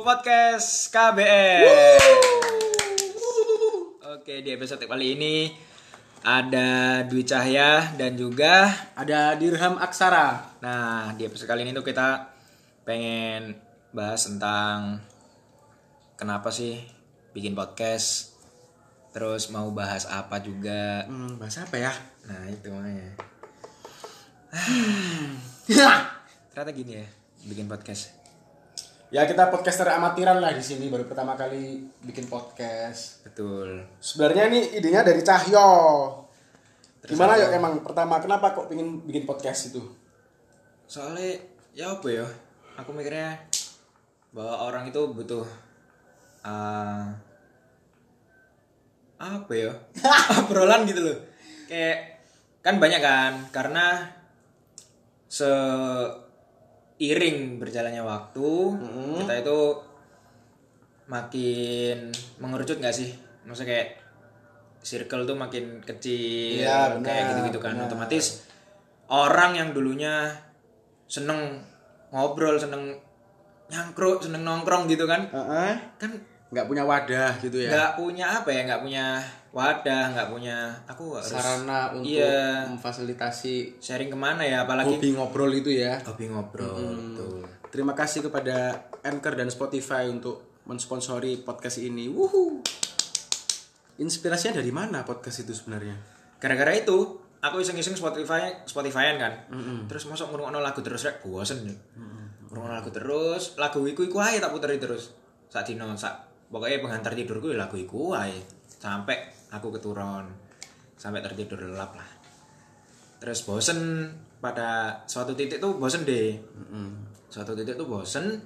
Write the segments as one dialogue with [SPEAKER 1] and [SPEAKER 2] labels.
[SPEAKER 1] podcast KBS. Oke, di episode kali ini ada Dwi Cahya dan juga
[SPEAKER 2] Ada dirham aksara.
[SPEAKER 1] nah, di episode kali ini tuh kita pengen bahas tentang kenapa sih bikin podcast. Terus mau bahas apa juga.
[SPEAKER 2] Hmm, bahasa apa ya?
[SPEAKER 1] Nah, itu makanya. Ternyata gini ya, bikin podcast.
[SPEAKER 2] ya kita podcaster amatiran lah di sini baru pertama kali bikin podcast.
[SPEAKER 1] Betul.
[SPEAKER 2] Sebenarnya ini idenya dari Cahyo. Gimana yuk emang pertama kenapa kok pingin bikin podcast itu?
[SPEAKER 1] soalnya ya apa ya aku mikirnya bahwa orang itu butuh eh, apa ya obrolan gitu loh kayak kan banyak kan karena seiring berjalannya waktu
[SPEAKER 2] Mm-hmm.
[SPEAKER 1] kita itu makin mengerucut nggak sih maksudnya kayak circle tuh makin kecil
[SPEAKER 2] Iya,
[SPEAKER 1] kayak
[SPEAKER 2] benar,
[SPEAKER 1] gitu-gitu kan
[SPEAKER 2] benar.
[SPEAKER 1] otomatis orang yang dulunya seneng ngobrol seneng nyangkruk seneng nongkrong gitu kan
[SPEAKER 2] Heeh.
[SPEAKER 1] kan
[SPEAKER 2] Nggak punya wadah gitu ya.
[SPEAKER 1] nggak punya apa ya nggak punya wadah nggak punya aku harus
[SPEAKER 2] Sarana untuk
[SPEAKER 1] Iya.
[SPEAKER 2] memfasilitasi
[SPEAKER 1] sharing kemana ya apalagi
[SPEAKER 2] hobi ngobrol itu ya.
[SPEAKER 1] hobi ngobrol betul.
[SPEAKER 2] Terima kasih kepada Anchor dan Spotify untuk mensponsori podcast ini. Wuhu. Inspirasinya dari mana podcast itu sebenarnya?
[SPEAKER 1] gara-gara itu aku iseng-iseng Spotify Spotifyan kan terus masuk ngurungin lagu terus rek bosen ya Ngrungokno lagu terus lagu iku iku aja tak puterin terus saat dino sak pokoknya pengantar tidurku ya lagu iku aja sampai aku keturun sampai tertidur lelap lah terus bosen pada suatu titik tuh bosen deh suatu titik tuh bosen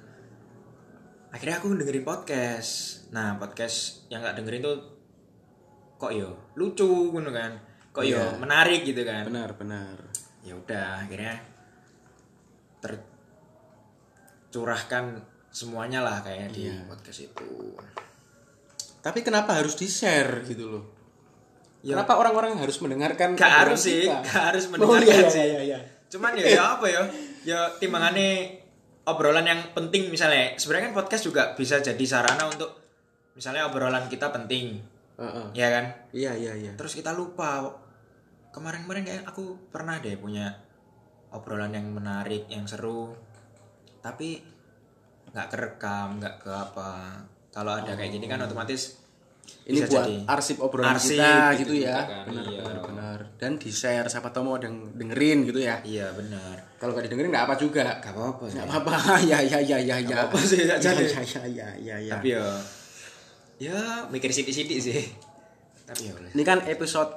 [SPEAKER 1] akhirnya aku dengerin podcast nah podcast yang nggak dengerin tuh kok yo lucu gitu kan kok yo
[SPEAKER 2] Iya.
[SPEAKER 1] menarik gitu kan
[SPEAKER 2] Benar, benar.
[SPEAKER 1] ya udah akhirnya tercurahkan semuanya lah kayaknya di podcast itu
[SPEAKER 2] Tapi kenapa harus di-share gitu loh?
[SPEAKER 1] Ya.
[SPEAKER 2] Kenapa orang-orang harus mendengarkan?
[SPEAKER 1] gak
[SPEAKER 2] obrolan
[SPEAKER 1] harus sih
[SPEAKER 2] kita?
[SPEAKER 1] gak harus
[SPEAKER 2] Oh
[SPEAKER 1] mendengarkan
[SPEAKER 2] iya, iya,
[SPEAKER 1] sih
[SPEAKER 2] iya, iya.
[SPEAKER 1] cuman ya, ya apa ya ya timbangannya obrolan yang penting misalnya sebenarnya kan podcast juga bisa jadi sarana untuk misalnya obrolan kita penting
[SPEAKER 2] Heeh.
[SPEAKER 1] ya kan
[SPEAKER 2] Iya, iya, iya.
[SPEAKER 1] terus kita lupa kemarin-kemarin kayak aku pernah deh punya obrolan yang menarik yang seru tapi nggak kerekam nggak ke apa kalau ada kayak gini kan otomatis
[SPEAKER 2] Oh. Ini
[SPEAKER 1] bisa
[SPEAKER 2] buat
[SPEAKER 1] jadi.
[SPEAKER 2] arsip obrolan
[SPEAKER 1] Arsip
[SPEAKER 2] kita
[SPEAKER 1] gitu juga
[SPEAKER 2] gitu, ya.
[SPEAKER 1] kan,
[SPEAKER 2] Benar,
[SPEAKER 1] iya.
[SPEAKER 2] benar, benar. Dan di-share siapa tahu mau deng- dengerin gitu ya.
[SPEAKER 1] iya benar
[SPEAKER 2] Kalau gak didengerin nggak apa juga.
[SPEAKER 1] gak apa-apa sih
[SPEAKER 2] Nggak apa-apa. Ya, ya, ya, ya, ya.
[SPEAKER 1] apa-apa sih, nggak jadi.
[SPEAKER 2] Ya, ya, ya, ya, ya.
[SPEAKER 1] tapi ya ya mikir sidik-sidik sih tapi ya boleh
[SPEAKER 2] Ini kan episode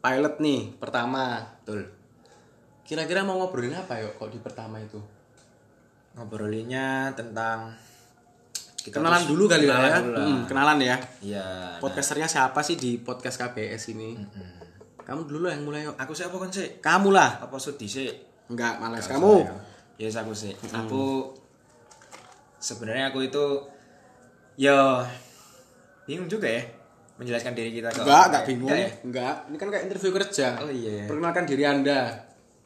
[SPEAKER 2] pilot nih, pertama.
[SPEAKER 1] betul
[SPEAKER 2] Kira-kira mau ngobrolin apa yuk kok di pertama itu?
[SPEAKER 1] ngobrolinnya tentang kita
[SPEAKER 2] Kenalan
[SPEAKER 1] terus-
[SPEAKER 2] dulu kali ya.
[SPEAKER 1] kenalan
[SPEAKER 2] ya.
[SPEAKER 1] dulu lah.
[SPEAKER 2] Hmm, kenalan ya.
[SPEAKER 1] iya
[SPEAKER 2] podcasternya siapa sih di podcast KBS ini? Kamu dulu lah yang mulai yuk.
[SPEAKER 1] nah. aku sih apa kan sih
[SPEAKER 2] Kamu lah.
[SPEAKER 1] apa sudi sih
[SPEAKER 2] Enggak, males kamu.
[SPEAKER 1] ya yes, aku sih aku sebenarnya aku itu yo bingung juga ya menjelaskan diri kita ke
[SPEAKER 2] Enggak,
[SPEAKER 1] orang
[SPEAKER 2] enggak
[SPEAKER 1] ya.
[SPEAKER 2] bingung.
[SPEAKER 1] Nggak ya?
[SPEAKER 2] Enggak, ini kan kayak interview kerja.
[SPEAKER 1] oh iya ya.
[SPEAKER 2] Perkenalkan diri Anda.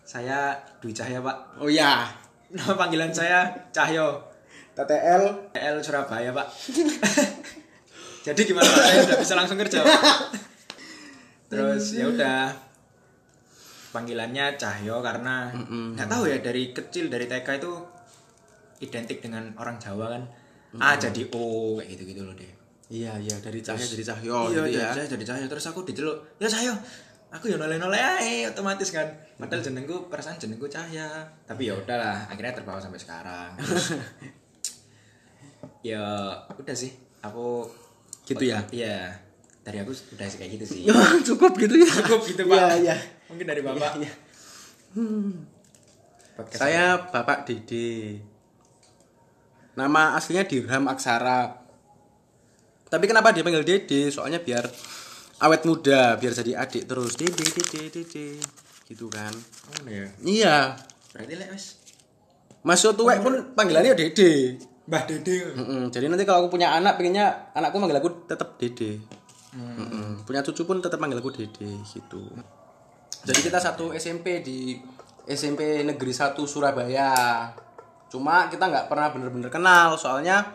[SPEAKER 1] saya Dwi Cahya pak
[SPEAKER 2] Oh ya,
[SPEAKER 1] nama panggilan saya Cahyo
[SPEAKER 2] TTL.
[SPEAKER 1] PL Surabaya pak jadi gimana pak saya sudah bisa langsung kerja Pak? terus ya udah panggilannya Cahyo karena nggak tahu ya dari kecil dari TK itu identik dengan orang Jawa kan A jadi O kayak gitu gitu loh deh
[SPEAKER 2] Iya, iya, dari Cahya jadi Cahyo
[SPEAKER 1] iya
[SPEAKER 2] gitu
[SPEAKER 1] jadi
[SPEAKER 2] ya.
[SPEAKER 1] Cahyo jadi Cahyo terus aku diceluk ya Cahyo aku ya noleh noleh ae otomatis kan padahal jenengku perasaan jenengku Cahya tapi ya udahlah akhirnya terbawa sampai sekarang Terus, ya udah sih aku
[SPEAKER 2] Gitu ya?
[SPEAKER 1] iya dari aku udah sih kayak gitu sih
[SPEAKER 2] Cukup gitu ya.
[SPEAKER 1] cukup gitu pak
[SPEAKER 2] Iya, iya.
[SPEAKER 1] mungkin dari bapak Hmm. Podcast
[SPEAKER 2] Saya Bapak Dede. Nama aslinya Dirham Aksara. Tapi kenapa dia panggil Dede? Soalnya biar awet muda, biar jadi adik terus. Dede, Dede, Dede. Gitu kan.
[SPEAKER 1] apa? Oh, ya.
[SPEAKER 2] Iya.
[SPEAKER 1] berarti lek wes
[SPEAKER 2] Mas Tuwek pun panggilannya Dede.
[SPEAKER 1] Mbah Dede
[SPEAKER 2] Mm-mm. Jadi nanti kalau aku punya anak, pengennya anakku manggil aku tetap Dede.
[SPEAKER 1] Hmm.
[SPEAKER 2] Mm-mm. Punya cucu pun tetap manggil aku Dede gitu. Jadi kita satu SMP di SMP Negeri 1 Surabaya. Cuma kita nggak pernah bener-bener kenal soalnya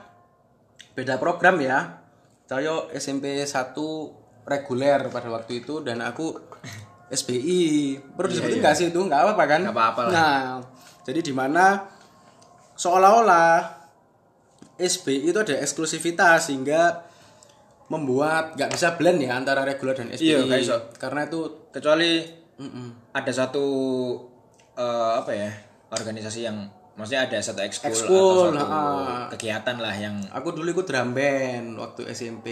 [SPEAKER 2] beda program ya saya SMP 1 reguler pada waktu itu dan aku SBI perlu disebutin nggak sih itu nggak apa-apa kan
[SPEAKER 1] Iya, Nggak apa-apa lah.
[SPEAKER 2] nah jadi di mana seolah-olah SBI itu ada eksklusivitas sehingga membuat nggak bisa blend ya antara reguler dan SBI
[SPEAKER 1] Iya, nggak bisa.
[SPEAKER 2] karena itu
[SPEAKER 1] kecuali
[SPEAKER 2] mm-mm.
[SPEAKER 1] ada satu eh, apa ya organisasi yang maksudnya ada satu ekskul atau
[SPEAKER 2] Ekskul,
[SPEAKER 1] satu
[SPEAKER 2] ah.
[SPEAKER 1] kegiatan lah yang
[SPEAKER 2] aku dulu ikut drum band waktu SMP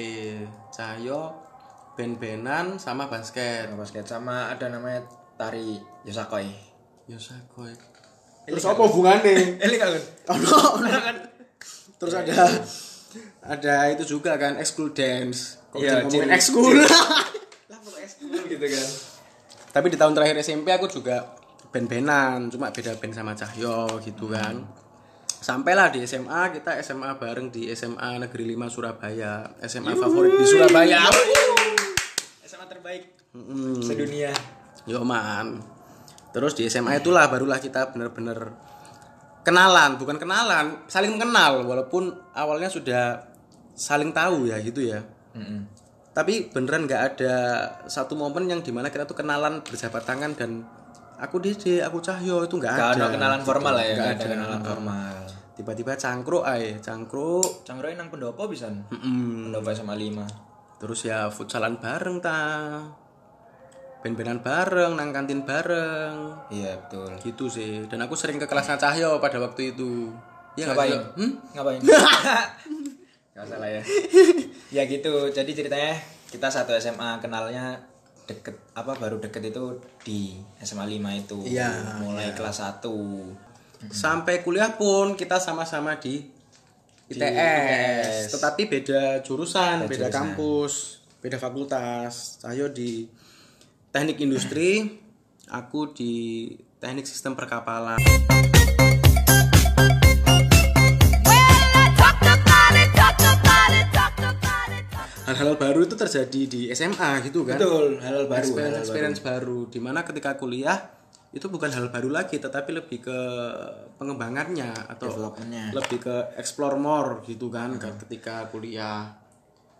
[SPEAKER 2] Cahyo band-bandan sama basket
[SPEAKER 1] basket sama ada namanya tari yosakoi
[SPEAKER 2] Yosakoi Ya terus apa hubungannya
[SPEAKER 1] ini kan
[SPEAKER 2] Oh, Ono.
[SPEAKER 1] kan
[SPEAKER 2] terus ada ada itu juga kan ekskul dance kok
[SPEAKER 1] Iya,
[SPEAKER 2] jadi ngomongin
[SPEAKER 1] ciri- iya.
[SPEAKER 2] ekskul
[SPEAKER 1] lah pokoknya ekskul gitu kan
[SPEAKER 2] tapi di tahun terakhir SMP aku juga band-bandan cuma beda band sama Cahyo gitu kan sampailah di SMA kita SMA bareng di SMA Negeri 5 Surabaya SMA favorit di Surabaya
[SPEAKER 1] SMA terbaik
[SPEAKER 2] Mm-mm.
[SPEAKER 1] sedunia
[SPEAKER 2] Yo man. Terus di SMA itulah barulah kita bener-bener kenalan, bukan kenalan, saling mengenal walaupun awalnya sudah saling tahu ya gitu ya.
[SPEAKER 1] Mm-mm.
[SPEAKER 2] Tapi beneran nggak ada satu momen yang dimana kita tuh kenalan berjabat tangan dan aku Dede, aku Cahyo itu nggak
[SPEAKER 1] Gak
[SPEAKER 2] ada.
[SPEAKER 1] ada kenalan formal lah ya,
[SPEAKER 2] Nggak
[SPEAKER 1] gak ada
[SPEAKER 2] ada.
[SPEAKER 1] kenalan formal.
[SPEAKER 2] Tiba-tiba cangkruk ae, cangkruk.
[SPEAKER 1] Cangkroi nang pendopo bisa.
[SPEAKER 2] Mm-mm.
[SPEAKER 1] Pendopo SMA 5.
[SPEAKER 2] Terus ya futsalan bareng ta. Ben-benan bareng, nang kantin bareng.
[SPEAKER 1] Iya, betul.
[SPEAKER 2] gitu sih dan aku sering ke kelasnya Cahyo pada waktu itu ya
[SPEAKER 1] Ngapain?
[SPEAKER 2] nggak sih? Hmm?
[SPEAKER 1] Ngapain? gak salah ya. ya gitu. Jadi ceritanya kita satu SMA kenalnya deket apa baru deket itu di SMA 5 itu.
[SPEAKER 2] Iya,
[SPEAKER 1] mulai kelas 1.
[SPEAKER 2] sampai kuliah pun kita sama-sama di ITS, tetapi beda jurusan beda, kampus beda fakultas Cahyo di teknik industri aku di teknik sistem perkapalan hal-hal baru itu terjadi di SMA gitu kan
[SPEAKER 1] Betul, hal baru.
[SPEAKER 2] experience
[SPEAKER 1] hal-hal baru.
[SPEAKER 2] experience baru dimana ketika kuliah itu bukan hal baru lagi tetapi lebih ke pengembangannya atau
[SPEAKER 1] Development-nya.
[SPEAKER 2] lebih ke explore more gitu kan ketika kuliah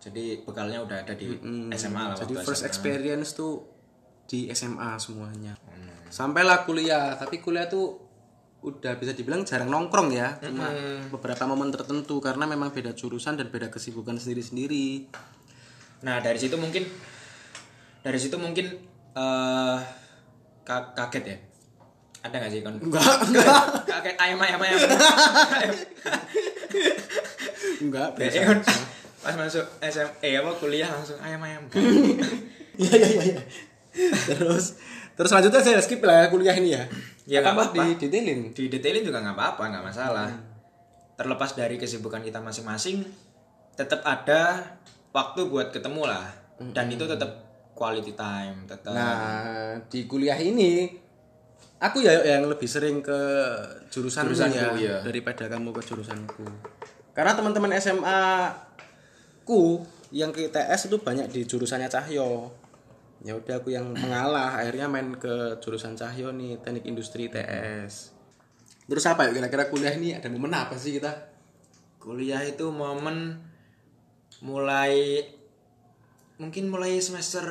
[SPEAKER 1] Jadi bekalnya udah ada di SMA lah
[SPEAKER 2] jadi
[SPEAKER 1] waktu
[SPEAKER 2] first
[SPEAKER 1] SMA.
[SPEAKER 2] experience tuh di SMA semuanya
[SPEAKER 1] Hmm.
[SPEAKER 2] sampailah kuliah tapi kuliah tuh udah bisa dibilang jarang nongkrong ya cuma
[SPEAKER 1] Hmm.
[SPEAKER 2] beberapa momen tertentu karena memang beda jurusan dan beda kesibukan sendiri-sendiri
[SPEAKER 1] Nah dari situ mungkin dari situ mungkin eh ka- kaget ya. Ada nggak sih kon?
[SPEAKER 2] enggak enggak
[SPEAKER 1] kaget ayam ayam ayam.
[SPEAKER 2] enggak biasa
[SPEAKER 1] Eh, kon. Pas masuk SM, eh apa kuliah langsung ayam ayam.
[SPEAKER 2] Hmm. Iya iya iya. iya. terus terus lanjutnya saya skip lah ya kuliah ini ya.
[SPEAKER 1] Ya, nggak
[SPEAKER 2] Apa mau
[SPEAKER 1] apa-apa.
[SPEAKER 2] di detailin.
[SPEAKER 1] Di detailin juga nggak apa-apa, nggak masalah.
[SPEAKER 2] Hmm.
[SPEAKER 1] Terlepas dari kesibukan kita masing-masing, tetap ada waktu buat ketemu lah. Dan itu tetap quality time, tetap.
[SPEAKER 2] Hmm. Nah di kuliah ini aku ya yang lebih sering ke jurusan
[SPEAKER 1] Jurusanku,
[SPEAKER 2] ya,
[SPEAKER 1] iya.
[SPEAKER 2] daripada kamu ke jurusanku. Karena teman-teman SMA ku yang ke ITS itu banyak di jurusannya Cahyo. Ya udah aku yang mengalah akhirnya main ke jurusan Cahyo nih teknik industri ITS. Terus apa ya kira-kira kuliah ini ada momen apa sih kita?
[SPEAKER 1] kuliah itu momen mulai mungkin mulai semester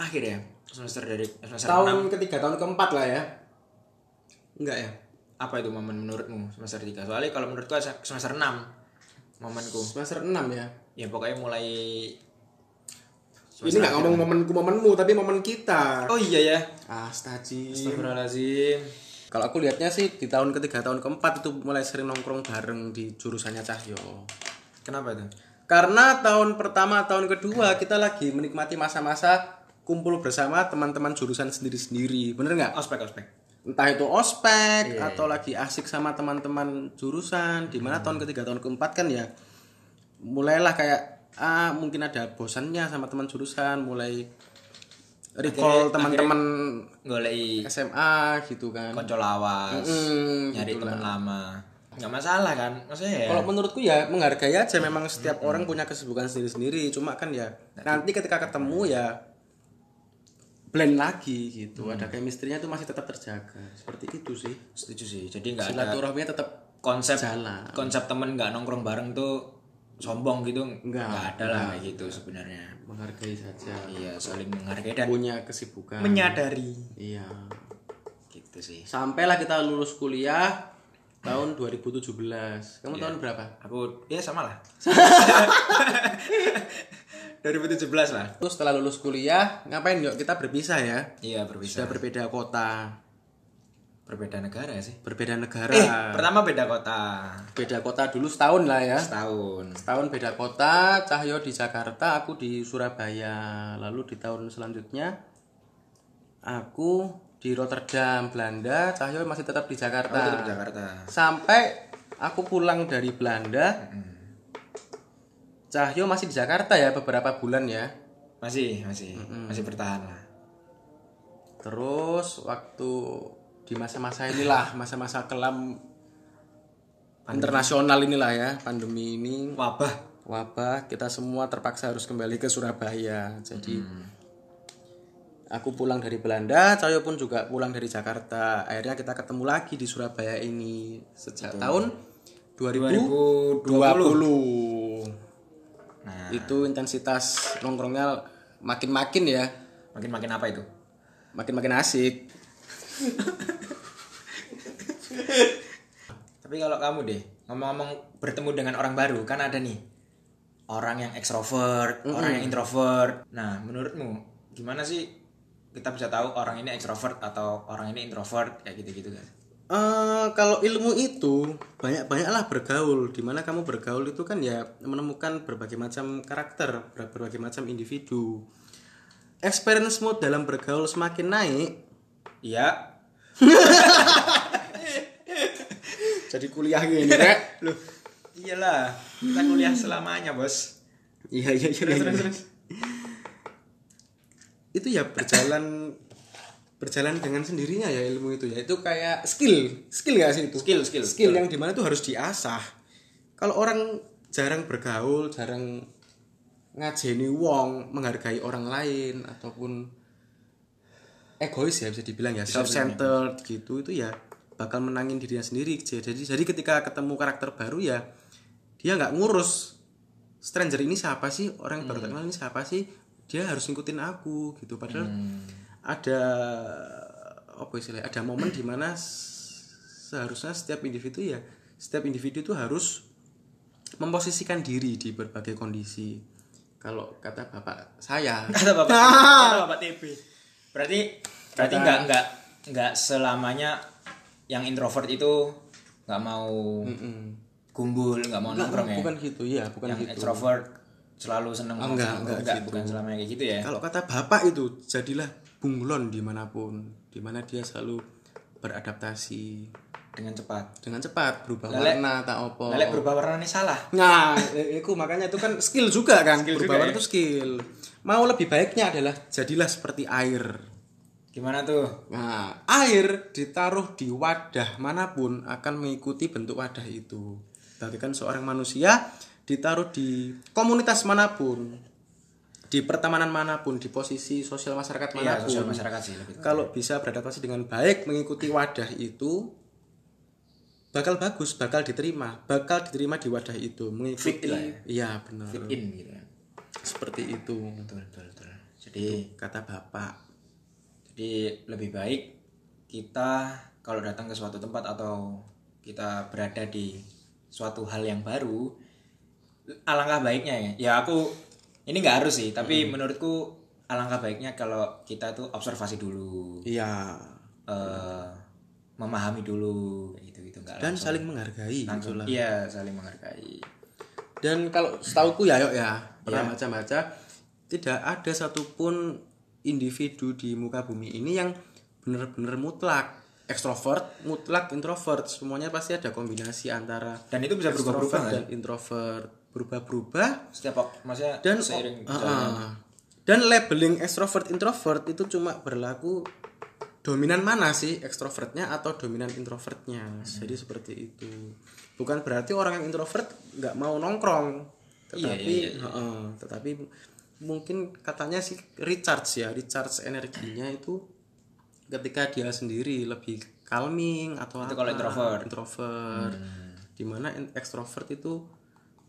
[SPEAKER 1] akhir ya semester dari semester enam
[SPEAKER 2] tahun ketiga tahun keempat lah ya enggak ya
[SPEAKER 1] apa itu momen menurutmu semester 3 soalnya kalau menurutku se- semester 6 momenku
[SPEAKER 2] semester 6 ya
[SPEAKER 1] ya pokoknya mulai
[SPEAKER 2] ini nggak ngomong momenku momenmu tapi momen kita
[SPEAKER 1] oh iya ya
[SPEAKER 2] astaji
[SPEAKER 1] Astagfirullahaladzim
[SPEAKER 2] kalau aku lihatnya sih di tahun ketiga tahun keempat itu mulai sering nongkrong bareng di jurusannya Cahyo
[SPEAKER 1] kenapa itu
[SPEAKER 2] karena tahun pertama tahun kedua kita lagi menikmati masa-masa kumpul bersama teman-teman jurusan sendiri-sendiri bener nggak
[SPEAKER 1] ospek ospek
[SPEAKER 2] entah itu ospek
[SPEAKER 1] Iya,
[SPEAKER 2] atau lagi asik sama teman-teman jurusan di
[SPEAKER 1] Hmm.
[SPEAKER 2] mana tahun ketiga tahun keempat kan ya mulailah kayak ah mungkin ada bosannya sama teman jurusan mulai
[SPEAKER 1] Akhirnya-
[SPEAKER 2] recall teman-teman
[SPEAKER 1] golei
[SPEAKER 2] SMA gitu kan
[SPEAKER 1] konco lawas
[SPEAKER 2] Mm,
[SPEAKER 1] nyari teman lama nggak masalah kan maksudnya ya
[SPEAKER 2] kalau menurutku ya menghargai aja memang setiap orang punya kesibukan sendiri-sendiri cuma kan ya nanti ketika ketemu ya blend lagi gitu
[SPEAKER 1] Hmm.
[SPEAKER 2] ada chemistry-nya itu masih tetap terjaga seperti itu sih
[SPEAKER 1] setuju sih jadi nggak ada
[SPEAKER 2] silaturahminya tetap
[SPEAKER 1] konsep
[SPEAKER 2] jalan
[SPEAKER 1] konsep temen nggak nongkrong bareng tuh sombong gitu
[SPEAKER 2] Enggak,
[SPEAKER 1] nggak ada lah kayak gitu sebenarnya
[SPEAKER 2] menghargai saja
[SPEAKER 1] iya saling menghargai dan
[SPEAKER 2] punya kesibukan
[SPEAKER 1] menyadari
[SPEAKER 2] iya
[SPEAKER 1] gitu sih
[SPEAKER 2] sampailah kita lulus kuliah tahun 2017
[SPEAKER 1] Iya.
[SPEAKER 2] kamu tahun berapa
[SPEAKER 1] aku ya sama lah 2017 lah
[SPEAKER 2] terus setelah lulus kuliah ngapain yuk kita berpisah ya
[SPEAKER 1] iya berbeda
[SPEAKER 2] sudah berbeda kota
[SPEAKER 1] berbeda negara ya sih
[SPEAKER 2] berbeda negara
[SPEAKER 1] eh pertama beda kota
[SPEAKER 2] beda kota dulu setahun lah ya
[SPEAKER 1] setahun
[SPEAKER 2] setahun beda kota Cahyo di Jakarta aku di Surabaya lalu di tahun selanjutnya aku di Rotterdam Belanda Cahyo masih tetap di Jakarta
[SPEAKER 1] tetap di Jakarta
[SPEAKER 2] sampai aku pulang dari Belanda Cahyo masih di Jakarta ya beberapa bulan ya
[SPEAKER 1] masih masih masih bertahan lah
[SPEAKER 2] terus waktu di masa-masa inilah masa-masa kelam internasional inilah ya pandemi ini
[SPEAKER 1] wabah
[SPEAKER 2] wabah kita semua terpaksa harus kembali ke Surabaya jadi aku pulang dari Belanda Cahyo pun juga pulang dari Jakarta akhirnya kita ketemu lagi di Surabaya ini sejak tahun 2020
[SPEAKER 1] 2020 nah
[SPEAKER 2] itu intensitas nongkrongnya makin-makin ya
[SPEAKER 1] makin makin apa itu
[SPEAKER 2] makin-makin asik
[SPEAKER 1] tapi kalau kamu deh ngomong-ngomong bertemu dengan orang baru kan ada nih orang yang ekstrovert orang yang introvert nah menurutmu gimana sih kita bisa tahu orang ini ekstrovert atau orang ini introvert kayak gitu-gitu kan
[SPEAKER 2] Eh, kalau ilmu itu banyak-banyaklah bergaul dimana kamu bergaul itu kan ya menemukan berbagai macam karakter ber- berbagai macam individu experience mode dalam bergaul semakin naik
[SPEAKER 1] iya
[SPEAKER 2] jadi kuliah gini Rek.
[SPEAKER 1] loh iyalah kita kuliah selamanya bos
[SPEAKER 2] iya iya iya
[SPEAKER 1] terus
[SPEAKER 2] iya.
[SPEAKER 1] terus terus
[SPEAKER 2] itu ya berjalan berjalan dengan sendirinya ya ilmu itu ya itu kayak skill skill gak sih itu
[SPEAKER 1] Skill, skill,
[SPEAKER 2] skill yang dimana itu harus diasah kalau orang jarang bergaul jarang ngajeni wong menghargai orang lain ataupun egois ya bisa dibilang ya self centered gitu itu ya bakal menangin dirinya sendiri jadi jadi ketika ketemu karakter baru ya dia nggak ngurus stranger ini siapa sih orang yang baru terkenal ini siapa sih dia harus ngikutin aku gitu padahal ada apa istilahnya ada momen dimana seharusnya setiap individu ya setiap individu itu harus memposisikan diri di berbagai kondisi kalau kata bapak saya
[SPEAKER 1] kata bapak kata bapak TB berarti berarti
[SPEAKER 2] Nah. Kata-
[SPEAKER 1] nggak nggak nggak selamanya yang introvert itu nggak mau
[SPEAKER 2] Mm-mm.
[SPEAKER 1] kumpul nggak mau nongkrong ya
[SPEAKER 2] bukan gitu ya bukan
[SPEAKER 1] yang
[SPEAKER 2] gitu Ah,
[SPEAKER 1] extrovert selalu seneng
[SPEAKER 2] enggak,
[SPEAKER 1] nongkrong.
[SPEAKER 2] enggak
[SPEAKER 1] bukan selamanya kayak gitu ya
[SPEAKER 2] kalau kata bapak itu jadilah bunglon dimanapun dimana dia selalu beradaptasi
[SPEAKER 1] dengan cepat
[SPEAKER 2] dengan cepat berubah
[SPEAKER 1] Lelek.
[SPEAKER 2] warna tak opo
[SPEAKER 1] lelek berubah warna ini salah
[SPEAKER 2] nah eh, itu makanya itu kan skill juga kan
[SPEAKER 1] Skill
[SPEAKER 2] berubah
[SPEAKER 1] juga
[SPEAKER 2] warna
[SPEAKER 1] ya.
[SPEAKER 2] itu skill mau lebih baiknya adalah jadilah seperti air
[SPEAKER 1] gimana tuh
[SPEAKER 2] Nah, air ditaruh di wadah manapun akan mengikuti bentuk wadah itu. Bagikan seorang manusia ditaruh di komunitas manapun, di pertemanan manapun, di posisi sosial masyarakat
[SPEAKER 1] ya
[SPEAKER 2] manapun.
[SPEAKER 1] sosial masyarakat sih lebih tepat.
[SPEAKER 2] Kalau bisa beradaptasi dengan baik mengikuti wadah itu bakal bagus, bakal diterima, bakal diterima di wadah itu. Mengikuti
[SPEAKER 1] Fit lah ya.
[SPEAKER 2] Iya, benar.
[SPEAKER 1] fit in gitu kan
[SPEAKER 2] Seperti itu
[SPEAKER 1] betul betul betul jadi
[SPEAKER 2] kata Bapak.
[SPEAKER 1] jadi lebih baik kita kalau datang ke suatu tempat atau kita berada di suatu hal yang baru alangkah baiknya ya ya aku ini nggak harus sih tapi
[SPEAKER 2] Hmm.
[SPEAKER 1] menurutku alangkah baiknya kalau kita tuh observasi dulu
[SPEAKER 2] Iya,
[SPEAKER 1] eh, memahami dulu gitu gitu nggak
[SPEAKER 2] dan
[SPEAKER 1] langsung-
[SPEAKER 2] saling menghargai
[SPEAKER 1] langsung
[SPEAKER 2] gitulah.
[SPEAKER 1] iya saling menghargai
[SPEAKER 2] Dan kalau setauku ya, Yok ya,
[SPEAKER 1] Iya.
[SPEAKER 2] pernah baca-baca, tidak ada satupun individu di muka bumi ini yang benar-benar mutlak ekstrovert, mutlak introvert. Semuanya pasti ada kombinasi antara
[SPEAKER 1] dan itu bisa Iya, berubah-berubah kan?
[SPEAKER 2] ekstrovert
[SPEAKER 1] nggak
[SPEAKER 2] dan introvert, berubah-berubah
[SPEAKER 1] setiap waktu maksudnya
[SPEAKER 2] dan
[SPEAKER 1] seiring
[SPEAKER 2] Ah,
[SPEAKER 1] berjalannya.
[SPEAKER 2] ah. dan labeling ekstrovert introvert itu cuma berlaku dominan mana sih ekstrovertnya atau dominan introvertnya jadi
[SPEAKER 1] Hmm.
[SPEAKER 2] seperti itu bukan berarti orang yang introvert nggak mau nongkrong
[SPEAKER 1] Iya,
[SPEAKER 2] tetapi
[SPEAKER 1] iya,
[SPEAKER 2] ah, ah, tetapi mungkin katanya sih recharge ya recharge energinya itu ketika dia sendiri lebih calming atau
[SPEAKER 1] Itu kalau introvert. Hmm.
[SPEAKER 2] introvert dimana in- ekstrovert itu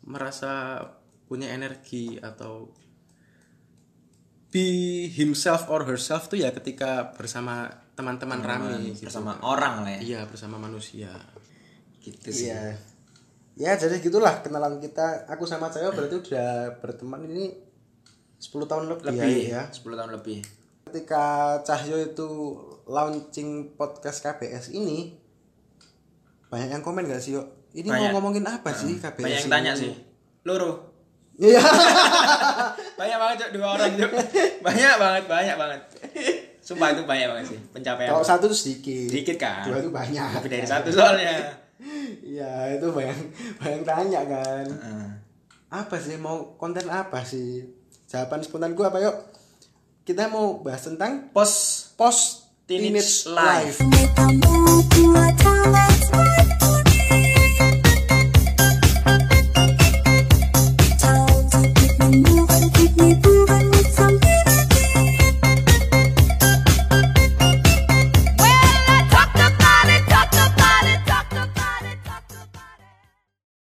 [SPEAKER 2] merasa punya energi atau be himself or herself tuh ya ketika bersama teman-teman rame gitu.
[SPEAKER 1] bersama orang lah ya
[SPEAKER 2] Iya, bersama manusia.
[SPEAKER 1] gitu sih
[SPEAKER 2] Iya. Ya, jadi gitulah kenalan kita. Aku sama cewek berarti udah berteman ini 10 tahun lebih, ya.
[SPEAKER 1] 10 tahun lebih
[SPEAKER 2] Ketika Cahyo itu launching podcast KBS ini banyak yang komen gak sih, Yo? Ini
[SPEAKER 1] Banyak.
[SPEAKER 2] mau ngomongin apa sih KBS?
[SPEAKER 1] banyak yang
[SPEAKER 2] ini?
[SPEAKER 1] tanya sih loro
[SPEAKER 2] Iya.
[SPEAKER 1] banyak banget cok dua orang cok banyak banget banyak banget sumpah itu banyak banget sih pencapaian
[SPEAKER 2] Kalau satu tuh sedikit.
[SPEAKER 1] sedikit kan
[SPEAKER 2] Dua itu banyak.
[SPEAKER 1] lebih dari satu soalnya
[SPEAKER 2] Iya, itu banyak banyak tanya kan.
[SPEAKER 1] Heeh.
[SPEAKER 2] apa sih mau konten apa sih jawaban spontan gue apa yuk kita mau bahas tentang
[SPEAKER 1] pos
[SPEAKER 2] post
[SPEAKER 1] Teenage
[SPEAKER 2] teenage
[SPEAKER 1] life.
[SPEAKER 2] life
[SPEAKER 3] Make a move in my time.